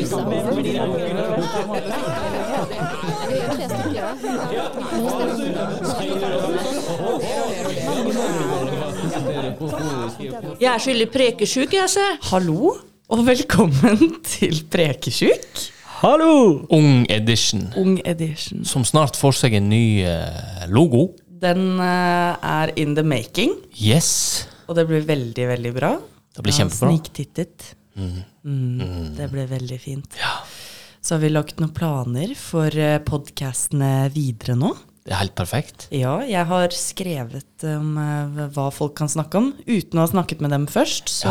de der ungene der borte. Vi gjør tre stykker, da. Jeg er skyldig prekesjuk, jeg, altså. se. Hallo, og velkommen til Prekesjuk. Hallo! Ung Edition, Ung edition. som snart får seg en ny eh, logo. Den eh, er in the making, Yes! og det blir veldig, veldig bra. Det blir Jeg har kjempebra. Sniktittet. Mm, Det ble veldig fint. Så har vi lagt noen planer for podkastene videre nå. Det er helt perfekt. Ja, jeg har skrevet om eh, hva folk kan snakke om, uten å ha snakket med dem først, så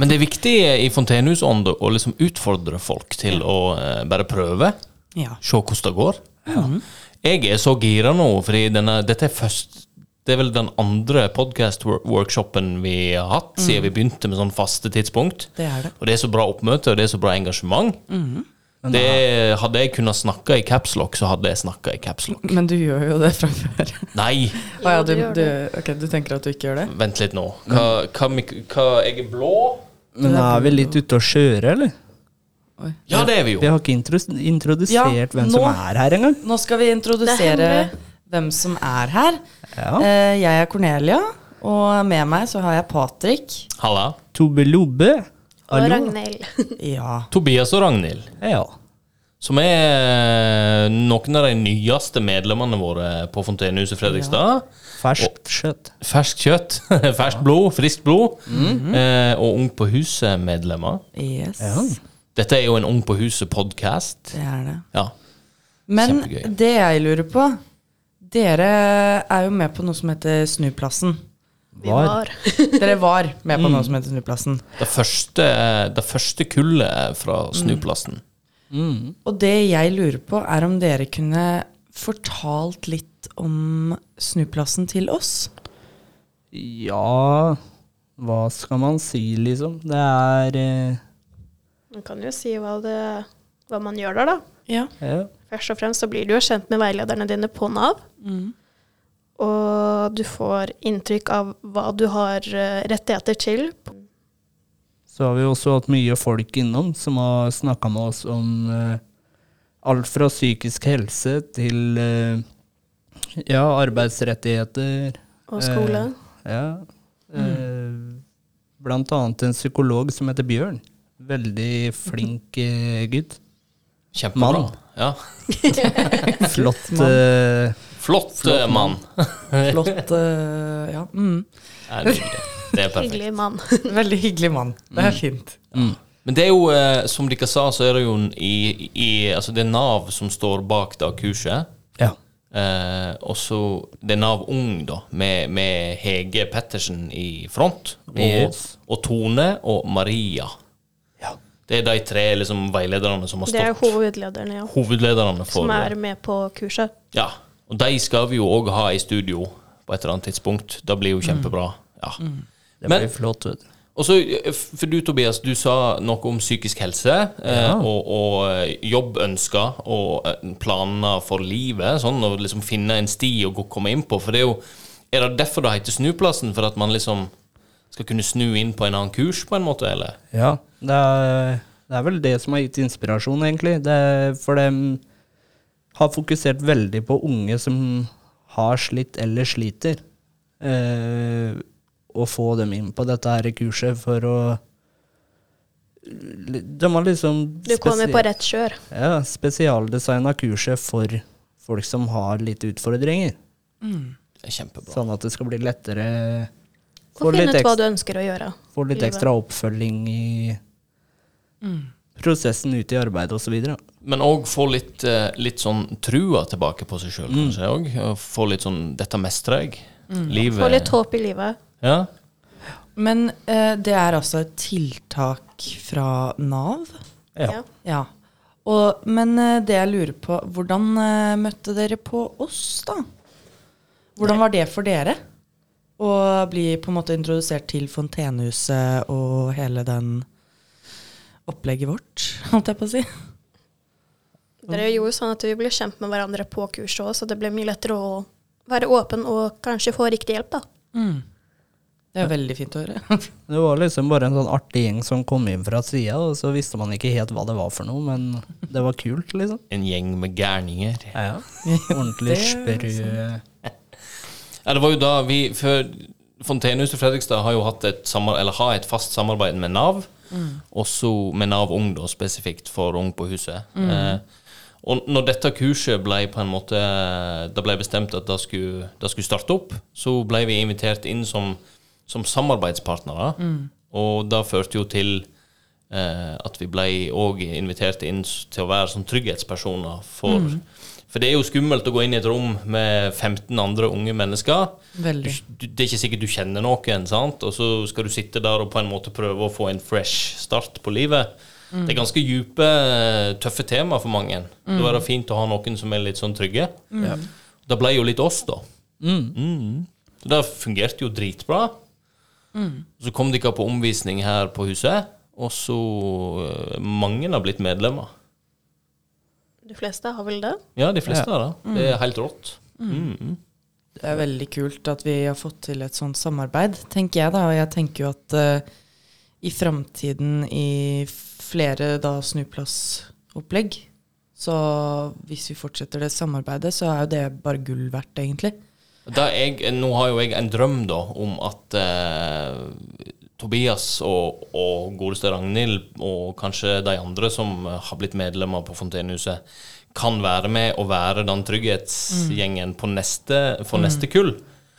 Men det er viktig eh, i Fontenehusånd å liksom utfordre folk til å eh, bare prøve. Ja. Mm, Se hvordan det går. Jeg er så gira nå, fordi denne, dette er først Det er vel den andre podcast-workshopen vi har hatt, siden vi begynte med sånn faste tidspunkt. Det er det. Og det er så bra oppmøte, og det er så bra engasjement. Det, hadde jeg kunnet snakke i capslock, så hadde jeg snakka i capslock. Men du gjør jo det fra før. Nei, Å ja, du, du, ok, du tenker at du ikke gjør det? vent litt nå. Hva, hva, mik- hva Jeg er blå? Men er vi litt ute å kjøre, eller? Ja, det er vi jo. Vi har ikke intros- introdusert Ja, hvem som nå. er her engang. Nå skal vi introdusere Det er hvem som er her. Ja. Eh, Jeg er Cornelia, og med meg så har jeg Patrick. Halla. Tobbe Lobbe. Og Hallo. Ragnhild. Ja. Tobias og Ragnhild, Ja. som er noen av de nyeste medlemmene våre på Fontenehuset Fredrikstad. Ferskt kjøtt. Ferskt kjøtt, ferskt blod, friskt blod. eh, og Ung på huset-medlemmer. Yes. Dette er jo en Ung på huset-podkast. Det er det. Ja. Men Kjempegøy. det jeg lurer på Dere er jo med på noe som heter Snuplassen. Vi var. Dere var med på noe som heter Snuplassen. Det første, det første kullet fra Snuplassen. Og det jeg lurer på, er om dere kunne fortalt litt om Snuplassen til oss. Ja Hva skal man si, liksom? Det er eh, Man kan jo si hva, det, hva man gjør der, da. Ja. ja. Først og fremst så blir du jo kjent med veilederne dine på Nav. Mm. Og du får inntrykk av hva du har eh, rettigheter til. Så har vi også hatt mye folk innom som har snakka med oss om eh, alt fra psykisk helse til eh, ja, arbeidsrettigheter. Og skole. Eh, ja. Mm. Eh, blant annet en psykolog som heter Bjørn. Veldig flink eh, gutt. Kjempebra. Mann. Ja. Flott eh, Flott, eh, mann. Flott. eh, ja. Mm. Ja, det er nydelig. Det er perfekt. Hyggelig mann. Veldig hyggelig mann. Det er fint. Men det er jo, eh, som dere sa, så er det jo en i, i Altså, det er Nav som står bak det kurset. Ja. Eh, og så det er Nav Ung, da, med, med Hege Pettersen i front. Og, Yes. og Tone og Maria. ja. Det er de tre liksom, veilederne som har Det er stått hovedlederne, ja. Hovedlederne for Som er med på kurset. Ja. Og de skal vi jo òg ha i studio på et eller annet tidspunkt. Det blir jo Mm. kjempebra. Ja. Det Men- blir flott, vet du. Og så, eh, for du Tobias, du sa noe om psykisk helse eh, og, og eh, jobbønsker og eh, planer for livet, sånn, og liksom finne en sti å gå- komme inn på. For det er jo, er det derfor det heter Snuplassen? For at man liksom skal kunne snu inn på en annen kurs, på en måte, eller? Ja, det er, det er vel det som har gitt inspirasjon, egentlig. Det er, for de har fokusert veldig på unge som har slitt eller sliter. Eh, å få dem inn på dette her kurset for å De har liksom Du kommer på spesial- rett kjør. ja, spesialdesigna kurset for folk som har litt utfordringer. Det er kjempebra. Sånn at det skal bli lettere Og Få finne litt ut hva ekstra du ønsker å gjøre. Får litt Livet. ekstra oppfølging i Mm. prosessen ut i arbeid osv. Men òg få litt, eh, litt sånn trua tilbake på seg sjøl, kanskje òg. Få litt sånn 'dette mestrer jeg'. Livet Mm. Få litt håp i livet. Ja. Men eh, det er altså et tiltak fra Nav. Ja. Ja. Og, men eh, det jeg lurer på, hvordan eh, møtte dere på oss, da? Hvordan var det for dere? Å bli på en måte introdusert til Fontenehuset og hele den opplegget vårt, holdt jeg på å si. Dere gjorde sånn at vi ble kjent med hverandre på kurset òg, så det ble mye lettere å være åpen og kanskje få riktig hjelp, da. Det er veldig fint å høre. Det var liksom bare en sånn artig gjeng som kom inn fra sida, og så visste man ikke helt hva det var for noe, men det var kult, liksom. En gjeng med gærninger. Ja, Ordentlig sprø Ja, det var jo da vi For Fontenehuset Fredrikstad har jo hatt et, samar eller har et fast samarbeid med Nav. Også med Nav Ung, da, spesifikt for Ung på huset. Eh, og når dette kurset ble på en måte eh, Det ble bestemt at det skulle, det skulle starte opp, så ble vi invitert inn som, som samarbeidspartnere. Og det førte jo til eh, at vi ble òg invitert inn s- til å være som trygghetspersoner for For det er jo skummelt å gå inn i et rom med 15 andre unge mennesker du, Veldig. du, det er ikke sikkert du kjenner noen, sant? og så skal du sitte der og på en måte prøve å få en fresh start på livet. Det er ganske djupe, eh, tøffe tema for mange. Da er det fint å ha noen som er litt sånn trygge. Det ble jo litt oss, da. Mm. Så det fungerte jo dritbra. Så kom dere på omvisning her på huset, og så eh, Mange har blitt medlemmer. De fleste har vel det. Ja, de fleste har det. Det er helt rått. Mm. Det er veldig kult at vi har fått til et sånt samarbeid, tenker jeg da. Og jeg tenker jo at eh, i framtiden i flere da snuplassopplegg, så hvis vi fortsetter det samarbeidet, så er jo det bare gull verdt, egentlig. Da jeg, nå har jo jeg en drøm da om at eh, Tobias og, og godeste Ragnhild, og kanskje de andre som har blitt medlemmer på Fontenehuset, kan være med og være den trygghetsgjengen på neste, for neste kull.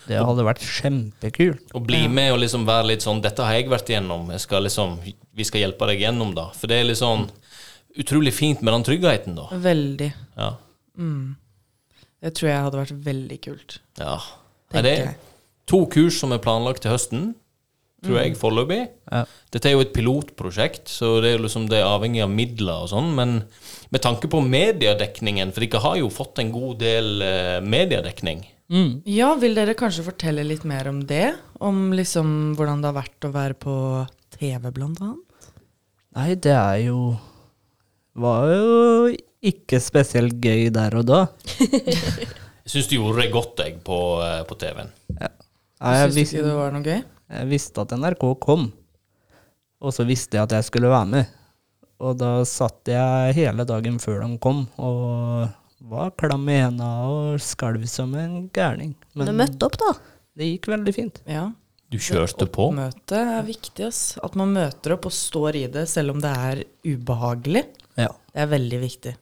Det hadde vært kjempekult. Og bli med og liksom være litt sånn 'Dette har jeg vært igjennom. Jeg skal liksom, vi skal hjelpe deg gjennom det.' For det er litt sånn utrolig fint med den tryggheten, da. Veldig. Mm. Ja. Det tror jeg hadde vært veldig kult. ja. Er Tenker det jeg. to kurs som er planlagt til høsten, tror jeg, foreløpig. Ja. Dette er jo et pilotprosjekt, så det er jo liksom det er avhengig av midler og sånn. Men med tanke på mediedekningen, for dere har jo fått en god del eh, mediedekning. Ja, vil dere kanskje fortelle litt mer om det? Om liksom hvordan det har vært å være på TV, blant annet? Nei, det er jo Var jo ikke spesielt gøy der og da. Jeg syns du gjorde det godt, jeg, på, eh, på TV-en. Nei, jeg, Syns vis, du ikke det var noe gøy? jeg visste at NRK kom, og så visste jeg at jeg skulle være med. Og da satt jeg hele dagen før de kom, og var klam i henda og skalv som en gærning. Men Men møtt opp, da. det gikk veldig fint. Ja. Du kjørte på. Møte er viktig, ass. At man møter opp og står i det, selv om det er ubehagelig. Ja. Det er veldig viktig.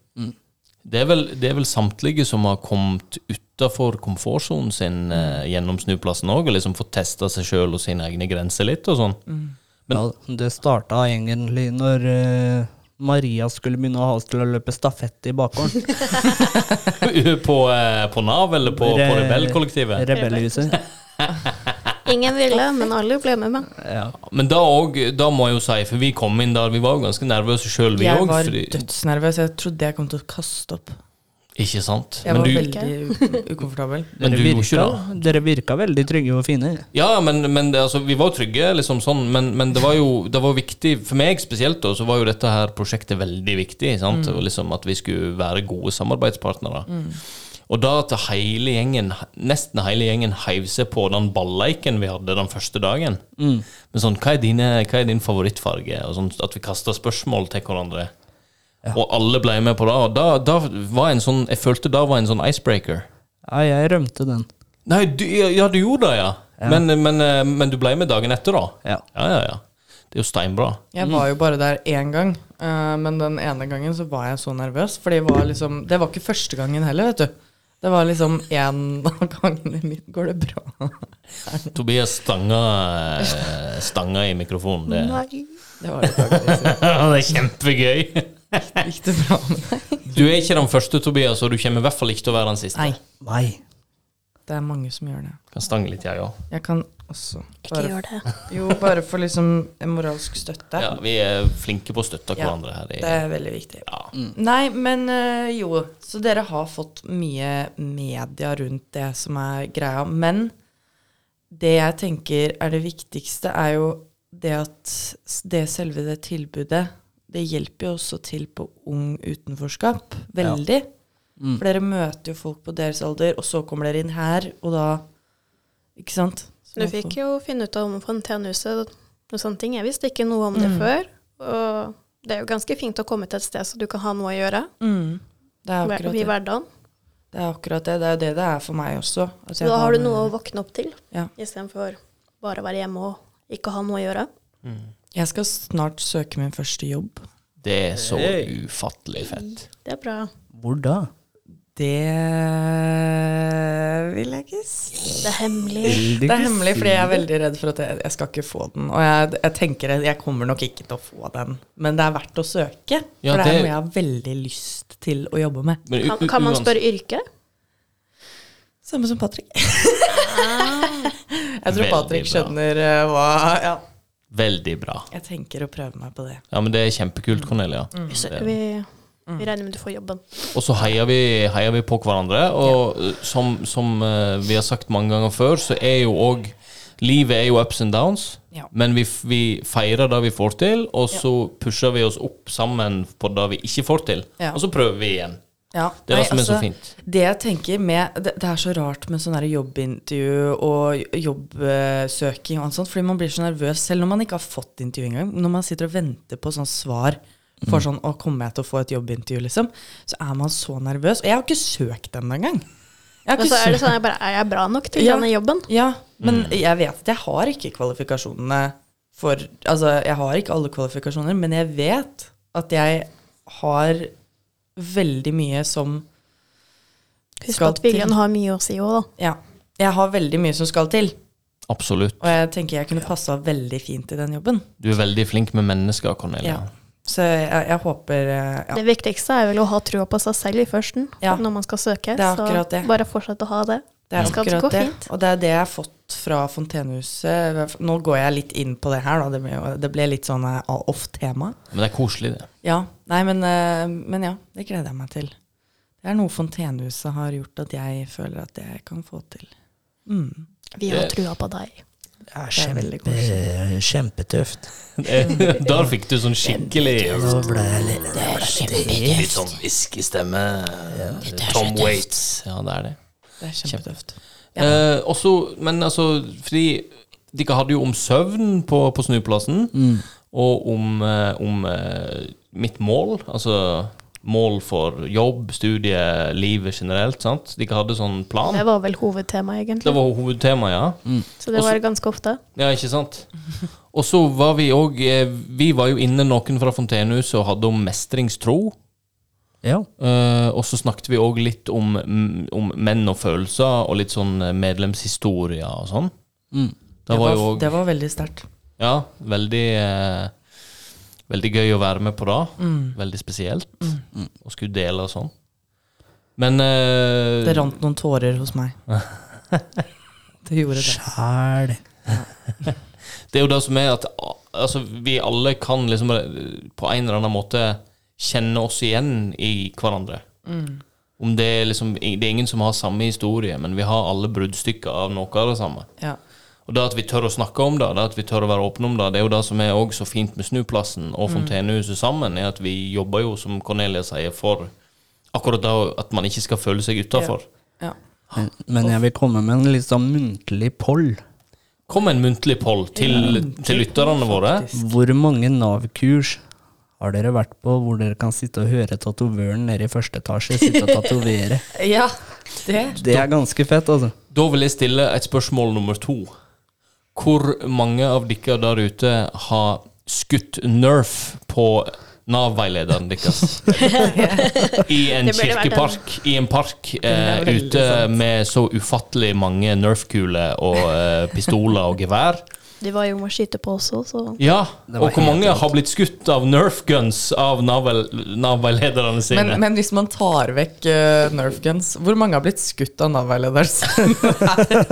Det er vel, det er vel samtlige som har kommet utafor komfortsonen sin Mm. eh, gjennom snuplassen òg, og liksom fått testa seg sjøl og sine egne grenser litt og sånn. Mm. ja, det starta egentlig når eh, Maria skulle begynne å ha oss til å løpe stafett i bakgården. på, eh, på Nav eller på, på Re- Rebellkollektivet? Rebellhuset. Ingen ville, men alle ble med. meg. Men da òg, da må jeg jo si, for vi kom inn der, vi var jo ganske nervøse sjøl, vi Jeg òg. var fordi- dødsnervøs. Jeg trodde jeg kom til å kaste opp. Ikke sant? Jeg Men var du, veldig u- ukomfortabel. men Dere du gjorde ikke virka, det? dere virka veldig trygge og fine. Ja, men, men det, altså, vi var jo trygge, liksom sånn, men, men det var jo det var viktig For meg spesielt, da, så var jo dette her prosjektet veldig viktig. sant? Og Liksom At vi skulle være gode samarbeidspartnere. Og da at hele gjengen, nesten hele gjengen heiv seg på den balleiken vi hadde den første dagen. Men sånn, hva er, dine, hva er din favorittfarge? Og sånn, at vi kasta spørsmål til hverandre. Og alle ble med på det. Og da, da var en sånn, jeg følte da var en sånn icebreaker. Ja, jeg rømte den. Nei, du, ja, du gjorde det, ja. Men, men, eh, men du ble med dagen etter, da? Ja. ja, ja. ja. Det er jo steinbra. Jeg var jo bare der én gang, eh, men den ene gangen så var jeg så nervøs. For det var liksom Det var ikke første gangen heller, vet du. Det var liksom én av gangene mitt går det bra. Tobias stanga, eh, stanga i mikrofonen. Det, Det var litt daglig, det er kjempegøy. så gikk det bra med deg. Du er ikke den første, Tobias, og du kommer i hvert fall ikke til å være den siste. Nei, Nei. det er mange som gjør det. Kan stange litt, jeg ja, òg. Jeg kan også Ikke bare, gjør det. Jo, bare for liksom en moralsk støtte. Ja, vi er flinke på å støtte Ja, hverandre her. Det i- er veldig viktig. Ja. Mm. Nei, men øh, jo, så dere har fått mye media rundt det som er greia. Men det jeg tenker er det viktigste, er jo det at s- det selve det tilbudet Det hjelper jo også til på ung utenforskap. Veldig. Mm. For dere møter jo folk på deres alder, og så kommer dere inn her, og da Ikke sant? Så du fikk jo finne ut av om Fontenehuset og sånne ting. Jeg visste ikke noe om det Mm. før. Og det er jo ganske fint å komme til et sted så du kan ha noe å gjøre Mm. Det er hver- akkurat i det. hverdagen. Det er akkurat det. Det er jo det det er for meg også. at Så jeg da har du med- noe å våkne opp til, Ja. istedenfor bare å være hjemme og ikke ha noe å gjøre. Jeg skal snart søke min første jobb. Det er så Hey. ufattelig fett. Det er bra. Hvor da? Det vil jeg ikke si. Det er hemmelig. Det er hemmelig, fordi jeg er veldig redd for at jeg, jeg skal ikke få den. Og jeg, jeg tenker at jeg kommer nok ikke til å få den, men det er verdt å søke. Ja, for det er det- noe jeg har veldig lyst til å jobbe med. Men u- Kan, kan man uansett- spørre yrke? Samme som Patrick. jeg tror Ah. Veldig Patrick bra. skjønner eh, hva Ja, Veldig bra. jeg tenker å prøve meg på det. Ja, men det er kjempekult, Cornelia. Så vi, Mm. vi regner med du får jobben. Og så heier vi, heier vi på hverandre. Og eh, som, som eh, vi har sagt mange ganger før, så er jo òg Livet er jo ups and downs, Ja. men vi, f- vi feirer det vi får til, og så pusher vi oss opp sammen på det vi ikke får til. Ja. Og så prøver vi igjen. Ja. altså, Det er det som er så fint. Det jeg tenker med Det, det er så rart med sånn der jobbintervju og jobbsøking og alt sånt, fordi man blir så nervøs selv når man ikke har fått intervju engang. Når man sitter og venter på sånn svar Mm. for sånn Å, kommer jeg til å få et jobbintervju, liksom? Så er man så nervøs. Og jeg har ikke søkt ennå engang. Jeg har Og ikke så er det søkt- sånn jeg bare Er jeg bra nok til denne jobben? Ja, men jeg vet at jeg har ikke kvalifikasjonene for Altså, jeg har ikke alle kvalifikasjoner, men jeg vet at jeg har veldig mye som Husk Skal at viljen til. har mye å si òg, da. Ja. Jeg har veldig mye som skal til, Absolutt. og jeg tenker jeg kunne passa veldig fint i den jobben. Du er veldig flink med mennesker, Cornelia. Ja. Så jeg, jeg håper eh, ja. Det viktigste er vel å ha trua på seg selv i førsten Ja. når man skal søke. Det er så akkurat det. bare fortsett å ha det. Det er skal akkurat gå det. fint. Og det er det jeg har fått fra Fontenehuset. Nå går jeg litt inn på det her, da. Det ble, jo- det ble litt sånn eh, off-tema. Men det er koselig, det. Ja. Nei, men, eh, men ja. Det gleder jeg meg til. Det er noe Fontenehuset har gjort at jeg føler at jeg kan få til. Mm. Vi har trua på deg. Det er Det er veldig kjempe, kjempetøft. Der fikk du sånn skikkelig Nå ble jeg litt Litt sånn hviskestemme. Tom Waits. Ja, det er det. Det er kjempetøft. Eh, også, men altså, fordi dere hadde jo om søvn på, på Snuplassen, og om, eh, om eh, mitt mål, altså mål for jobb, studie, livet generelt, sant? Dere hadde sånn plan. Det var vel hovedtemaet, Det egentlig. var hovedtema, ja. så det Også- var ganske ofte. Ja, ikke sant? Og så var vi òg Vi var jo inne noen fra Fontenehuset og hadde om mestringstro. Ja. Eh, og så snakket vi òg litt om, om menn og følelser, og litt sånn medlemshistorier og sånn. Mm. Det var jo òg det var veldig sterkt. Ja, veldig eh, Veldig gøy å være med på det. Mm. Veldig spesielt. Å skulle dele og sånn. Men eh, Det rant noen tårer hos meg. Det gjorde det. Sjæl. det er jo det som er at ah, altså, vi alle kan liksom eh, på en eller annen måte kjenne oss igjen i hverandre. Mm. Om det er liksom Det er ingen som har samme historie, men vi har alle bruddstykker av noe av det samme. Ja. Og det at vi tør å snakke om det, det at vi tør å være åpne om det, det er jo det som er også så fint med Snuplassen og Fontenehuset sammen, er at vi jobber jo, som Cornelia sier, for akkurat det at man ikke skal føle seg utafor. ja. Men, men jeg vil komme med en litt sånn muntlig poll. Kom en muntlig poll til, til lytterne våre. Hvor mange Nav-kurs har dere vært på hvor dere kan sitte og høre tatovøren nede i første etasje sitte og tatovere? Ja, det Det er ganske fett, altså. Da vil jeg stille et spørsmål nummer to. Hvor mange av dere der ute har skutt nerf på Nav-veilederen deres? I en Det burde vært en- kirkepark, i en park, eh, er veldig ute med så ufattelig mange nerf-kuler og eh, pistoler og gevær. De var jo med å skyte på også, så Ja, Det var og hvor helt mange har blitt skutt av nerf-guns av Nav-vel- Nav-veilederne Men, sine? men hvis man tar vekk eh, Nerf guns, hvor mange har blitt skutt av Nav-veilederen sin?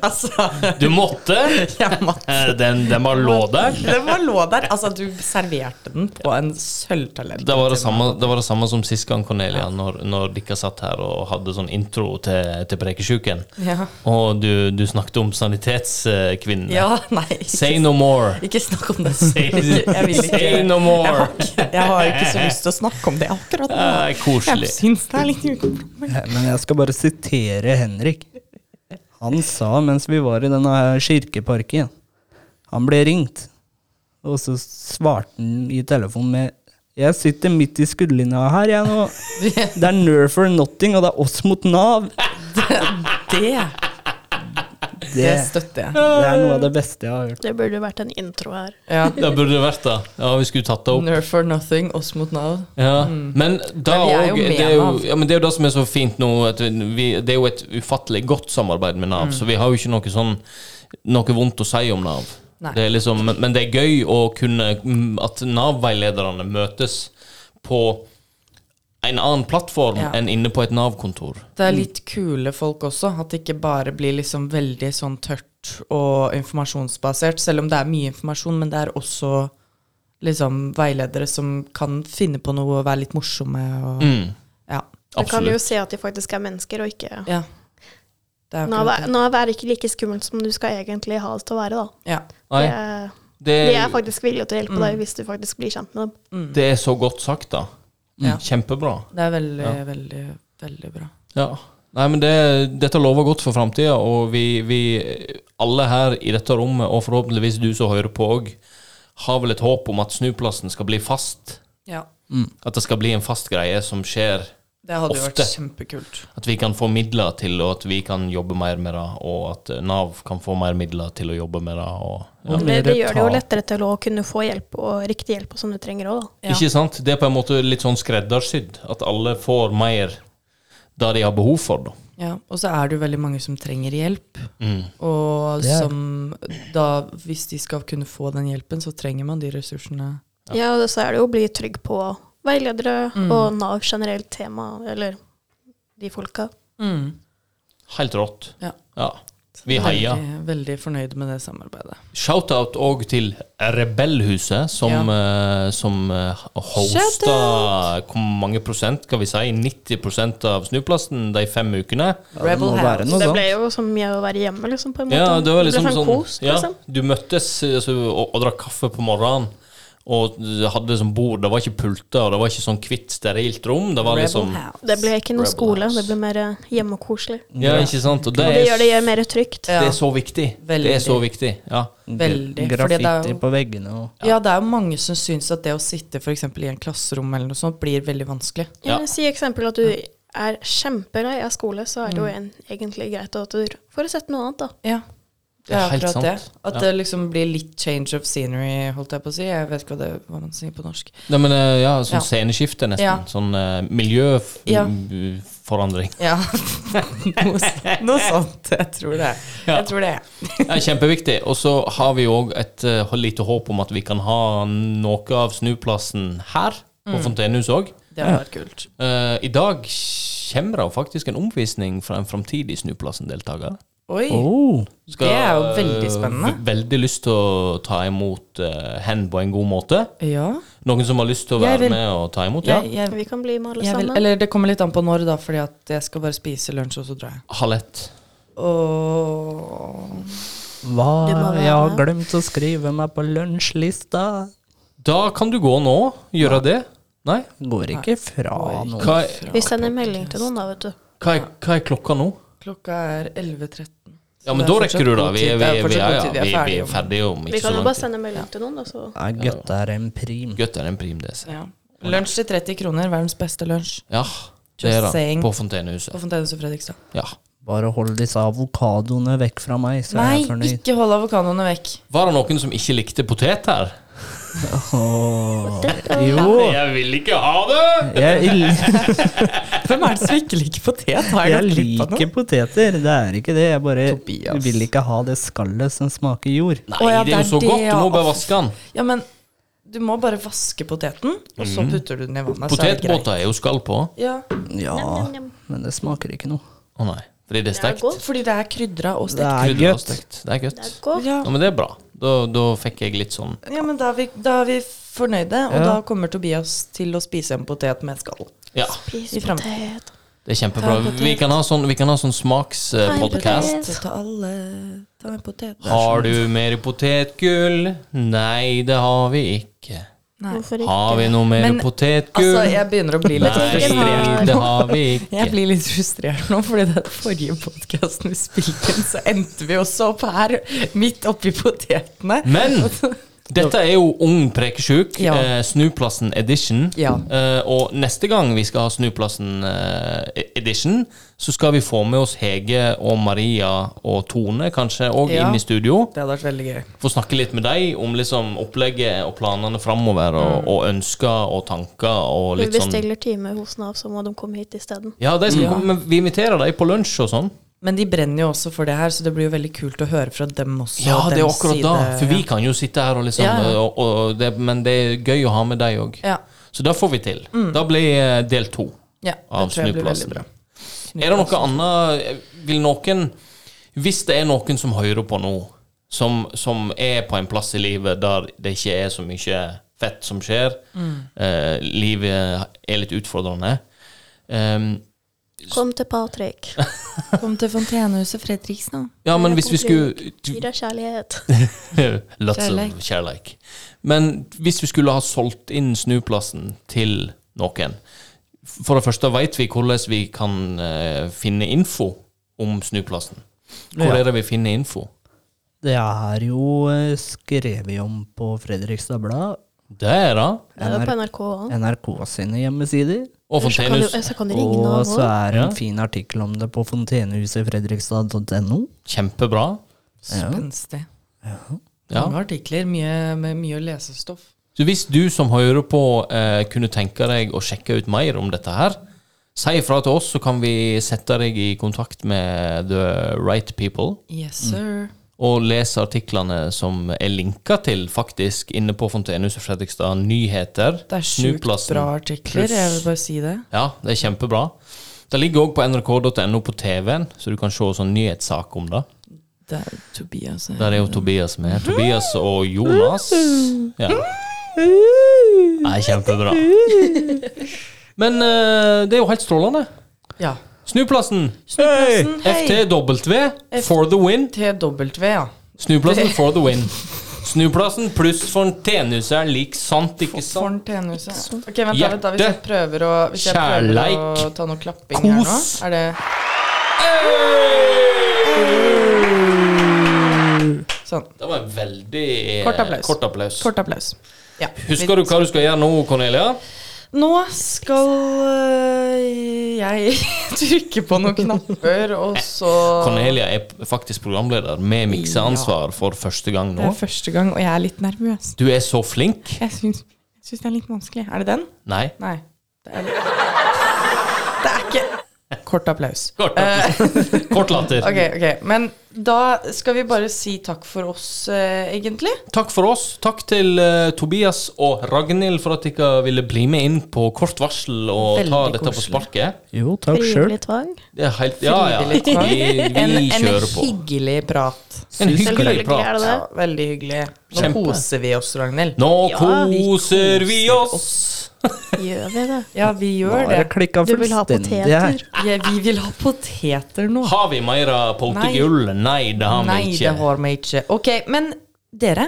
altså, Du måtte? jeg måtte Eh, Den, den bare lå der? Den bare lå der. Altså, du serverte den på en sølvtallerken. Det var det, til samme, det var det samme som sist gang, Cornelia, når, når dere satt her og hadde sånn intro til, til Prekesjuken. meg. Ja. Og du, du snakket om sanitetskvinnene. ja, nei. Ikke, Say no more! ikke snakk om det. Say, Jeg vil ikke. say no more! Jeg har ikke så lyst til å snakke om det akkurat nå. Eh, Jeg koselig. syns det er litt ukomfortabelt. Men jeg skal bare sitere Henrik. Han sa mens vi var i denne her kirkeparken Han ble ringt. Og så svarte han i telefonen med Jeg sitter midt i skuddlinja her, jeg nå. Det er Nerf or Nothing, og det er oss mot Nav. Det, det Det, støtter jeg. det er noe av det beste jeg har hørt. Det burde vært en intro her. Ja. Det burde det vært det. Ja, vi skulle tatt det opp. Nerf for nothing, oss mot Nav. Ja. Men, da Mm. Men vi er jo med og- det er jo, Nav. ja, men det er jo det som er så fint nå. At vi, det er jo et ufattelig godt samarbeid med Mm. Nav, så vi har jo ikke noe sånn noe vondt å si om Nav. Nei. Det er liksom, men, men det er gøy å kunne mm, at Nav-veilederne møtes på en annen plattform Ja. enn inne på et Nav-kontor. Det er litt kule folk også, at det ikke bare blir liksom veldig sånn tørt og informasjonsbasert, selv om det er mye informasjon, men det er også liksom veiledere som kan finne på noe og være litt morsomme og Mm, ja. Da kan vi jo absolutt. se at de faktisk er mennesker, og ikke ja. Det er Nav akkurat er, det. Nav er ikke like skummelt som du skal egentlig ha det til å være, da. Ja. Nei, Det er- det, De er faktisk villige til å hjelpe Mm. deg hvis du faktisk blir kjent med dem. det er så godt sagt, da. Ja. Mm. Kjempebra. Det er veldig, veldig, veldig bra. Ja. Nei, men det, dette lover godt for framtida, og vi, vi alle her i dette rommet, og forhåpentligvis du som hører på òg, har vel et håp om at snuplassen skal bli fast. Ja. At det skal bli en fast greie som skjer. Det hadde jo vært Ofte. kjempekult. At vi kan få midler til, og at vi kan jobbe mer med det, og at Nav kan få mer midler til å jobbe med det. Og, ja. Og Det, mer det gjør det jo ta- lettere til å kunne få hjelp, og riktig hjelp, og som du trenger òg, da. Ja. Ikke sant? Det er på en måte litt sånn skreddersydd. At alle får mer det de har behov for, da. Ja, og så er det jo veldig mange som trenger hjelp. Og Mm. Det er det. som da, hvis de skal kunne få den hjelpen, så trenger man de ressursene. Ja, og så er det jo å bli trygg på veiledere og Nav generelt tema, eller de folka. Mm. Helt rått. Ja. Ja. Vi heier. Veldig, veldig fornøyd med det samarbeidet. Shoutout òg til Rebellhuset, som, eh, som eh, hosta hvor mange prosent, skal vi si, 90 av Snuplasten de fem ukene. Ja, det må være noe Det ble sånt. jo som jeg å være hjemme, liksom, på en måte. Ja, det var liksom ble sånn sånn kos, ja, liksom. Du møttes eh, altså, og, og drakk kaffe på morgenen. Og hadde sånn bord. Det var ikke pulter, og det var ikke sånn hvitt, sterilt rom. Det var liksom Det ble ikke noe Rebel skole, House. det ble mer eh, hjemme og koselig. Ja, ikke sant? Og det Og det gjør er, det gjør mer trygt. det er så viktig. Det Veldig. er så viktig. Ja. Veldig, fordi det er Graffiti jo- på veggene og Ja, det er jo mange som syns at det å sitte for eksempel i en klasserom eller noe sånt, blir veldig vanskelig. Ja. Ja. men Eh, Si eksempel at du er kjempelei av skole, så er det jo en, egentlig greit at du får sett noe annet, da. Ja. Det Det er er helt akkurat det. sant. At Ja. det liksom blir litt change of scenery, holdt jeg på å si. Jeg vet ikke hva, det, hva man sier på norsk. Nei, men, eh, ja, sånn Ja. sceneskifte, nesten. Ja. Sånn eh, miljøforandring. Ja. Ja. noe, s- noe sånt. Jeg tror det. Ja. Jeg tror det. Det er kjempeviktig. Og så har vi òg et eh, lite håp om at vi kan ha noe av snuplassen her, Mm. på Fontenehuset òg. Det hadde vært kult. I dag kommer det jo faktisk en omvisning fra en framtidig Snuplassen-deltaker. Oi. oh, Skal, Det er jo eh, veldig spennende. v- Veldig lyst til å ta imot eh, hen på en god måte. Ja. Noen som har lyst til å Jeg være vil- med og ta imot? Ja. Jeg, jeg, Vi kan bli med alle jeg vil, sammen. eller det kommer litt an på når, da, fordi at jeg skal bare spise lunsj, og så drar jeg. Halett. Og hva Det må være Jeg har det. glemt å skrive meg på lunsjlista. Da kan du gå nå. Gjøre det. Nei? Går ikke fra noe. Hva er, Vi sender melding til noen, da, vet du. hva er, hva er klokka nå? altså. klokka er 11.13. så Ja, men det er da rekker fortsatt du, da. god Vi, tid. vi, Det vi, er fortsatt ja, god ja, tid. vi, vi om- er ferdige om Vi ikke så kan jo lang bare tid. sende melding til noen, da, så Nei, Gøtt er en prim. Godt er en prim DC. ja. Lunsj til 30 kroner. Verdens beste lunsj. Ja, det Just er det. saying. På Fontenehuset. På Fontenehuset Fredrikstad. Ja. Bare hold disse avokadoene vekk fra meg, så er Nei, jeg fornøyd. ikke hold avokadoene vekk. Var det noen som ikke likte potet her? Åh, jo, Jeg vil ikke ha det! jeg, Hvem er det som ikke liker potet? Har jeg gått glipp av noe? liker poteter. Det er ikke det. Jeg bare Tobias. vil ikke ha det skallet som smaker jord. Nei, Å, ja, det er jo så det er godt. det, Du må ja. bare vaske den. Ja, men du må bare vaske poteten, og Mhm. så putter du den i vannet. så er det greit. Potetbåter er jo skall på. Å Ja, Ja, Njam, njam, njam. men det smaker ikke noe. nei. Fordi det er Det er stekt. godt. fordi det er krydra og Det stekt. er Krydder og godt. stekt. Det er Det er godt. godt. Ja. Ja, men det er bra. Da, da fikk jeg litt sånn ja, men da er vi, da er vi fornøyde, og Ja. da kommer Tobias til å spise en potet med skall. Ja, Spis I frem- potet. det er kjempebra. Vi kan ha sånn, vi kan ha sånn smakspodkast. Potet. Ta alle, ta en potet. Har du mer potetgull? Nei, det har vi ikke. Nei. Hvorfor ikke? Har vi noe mer Men, potetgull? Altså, jeg begynner å bli litt Nei, frustrert det nå. har vi ikke. Jeg blir litt frustrert nå, fordi den forrige podkasten vi spilte inn, så endte vi også opp her, midt oppi potetene. Men dette er jo Ung prekesjuk, Ja. eh, Snuplassen edition. Ja. Eh, og neste gang vi skal ha Snuplassen eh, edition, så skal vi få med oss Hege og Maria og Tone kanskje òg Ja. inn i studio. Det hadde vært veldig gøy. Få snakke litt med dem om liksom opplegget og planene framover, og, og ønsker og tanker og Vi litt sånn bestiller time hos Nav, så må de komme hit isteden. Ja, de skal komme, men vi inviterer dem på lunsj og sånn. Men de brenner jo også for det her, så det blir jo veldig kult å høre fra dem også. Ja, det er dems akkurat side. da. For vi kan jo sitte her og liksom Ja, ja. Og, og det, Men det er gøy å ha med deg òg. Ja, Så det får vi til. Da blir eh, del to ja Mm. det av tror jeg blir veldig Snuplassen. bra. Er det noe annet Vil noen Hvis det er noen som hører på nå, som, som er på en plass i livet der det ikke er så mye fett som skjer, Mm. eh, livet er litt utfordrende ehm, Kom til Patrick. Kom til Fontenehuset Fredriksen, da. Ja, men hvis vi Gi skulle deg kjærlighet. Lots of Kjærleik. kjærleik. Men hvis vi skulle ha solgt inn snuplassen til noen For det første vet vi hvordan vi kan eh, finne info om snuplassen. Hvor Ja. er det vi finner info? Det er jo eh, skrevet om på Fredrikstad Blad, Det er det. Det er jo på NRK også. NRK sine hjemmesider. Og Så kan Fontenehus. du- Så kan du ringe Og Nav så òg. er det Ja. en fin artikkel om det på fontenehusefredrikstad.no. Kjempebra. Spenstig. Ja. Mange artikler, mye, med mye lesestoff. Så hvis du som hører på eh, kunne tenke deg å sjekke ut mer om dette her, si ifra til oss, så kan vi sette deg i kontakt med the right people. Yes, sir. og lese artiklene som er linka til, faktisk, inne på Fontenehuset Fredrikstad Nyheter. Det er sjukt Snuplassen. bra artikler, jeg vil Pluss- bare si det. Ja, det er kjempebra. Det ligger òg på nrk.no på TV-en, så du kan se sånn nyhetssak om det. Det er altså. Tobias. Der er jo Tobias med. Tobias og Jonas. Ja. Nei, kjempebra. Men eh, det er jo helt strålende. Ja. Snuplassen! Snuplassen, hei. FTW for the win. TW, ja. Snuplassen for the win. Snuplassen pluss fontenehuset er lik sant, ikke sant? Fontenehuset. Ok, vent da, vent da, hvis jeg Hjerte. prøver å, hvis jeg prøver å Kjærleik. ta noe klapping her nå, Kos. er det sånn. Det var en veldig eh, Kort applaus. Kort applaus. Kort applaus. Ja. Husker du hva du skal gjøre nå, Cornelia? Nå skal øh, jeg trykke på noen knapper, og så Cornelia er p- faktisk programleder med mikseansvar for første gang Det nå. er første gang, og jeg er litt nervøs. Du er så flink. Jeg syns, jeg syns det er litt vanskelig. Er det den? Nei. Nei. Det er, det er ikke Kort applaus. Kort, Kort latter. Eh. Ok, ok. Men da skal vi bare si takk for oss, eh, egentlig. Takk for oss. Takk til eh, Tobias og Ragnhild for at dere ville bli med inn på kort varsel og Veldig ta dette på koselig. sparket. Jo, takk sjøl. Frivillig tvang. Det er helt, ja, ja. Vi, Frivillig tvang. En, vi en kjører på. hyggelig prat. En hyggelig Selvfølgelig er prat. det det. Ja, veldig hyggelig. Nå Kjempe. koser vi oss, Ragnhild. Nå Ja, vi koser vi oss. Gjør vi det? Ja, vi gjør Bare det. klikka Du vil ha fullstendig her. poteter? Ja, vi vil ha poteter nå. Har vi mer av potegull? Nei, det har Nei, vi det ikke. har vi ikke. Ok, men dere,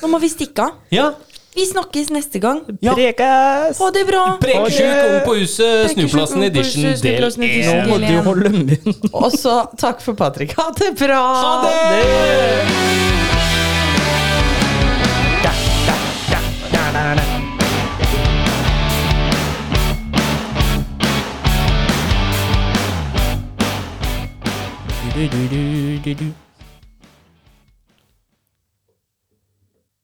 nå må vi stikke av. Ja. Vi snakkes neste gang. Ja. Prekes! Ha det bra! Prekesjuk Ok. ung på huset, Prekesjuk Snuplassen ung på edition huset, del Snuplassen edition Nå én. må du holde munn. Og så takk for Patrick. Ha det bra! Ha det!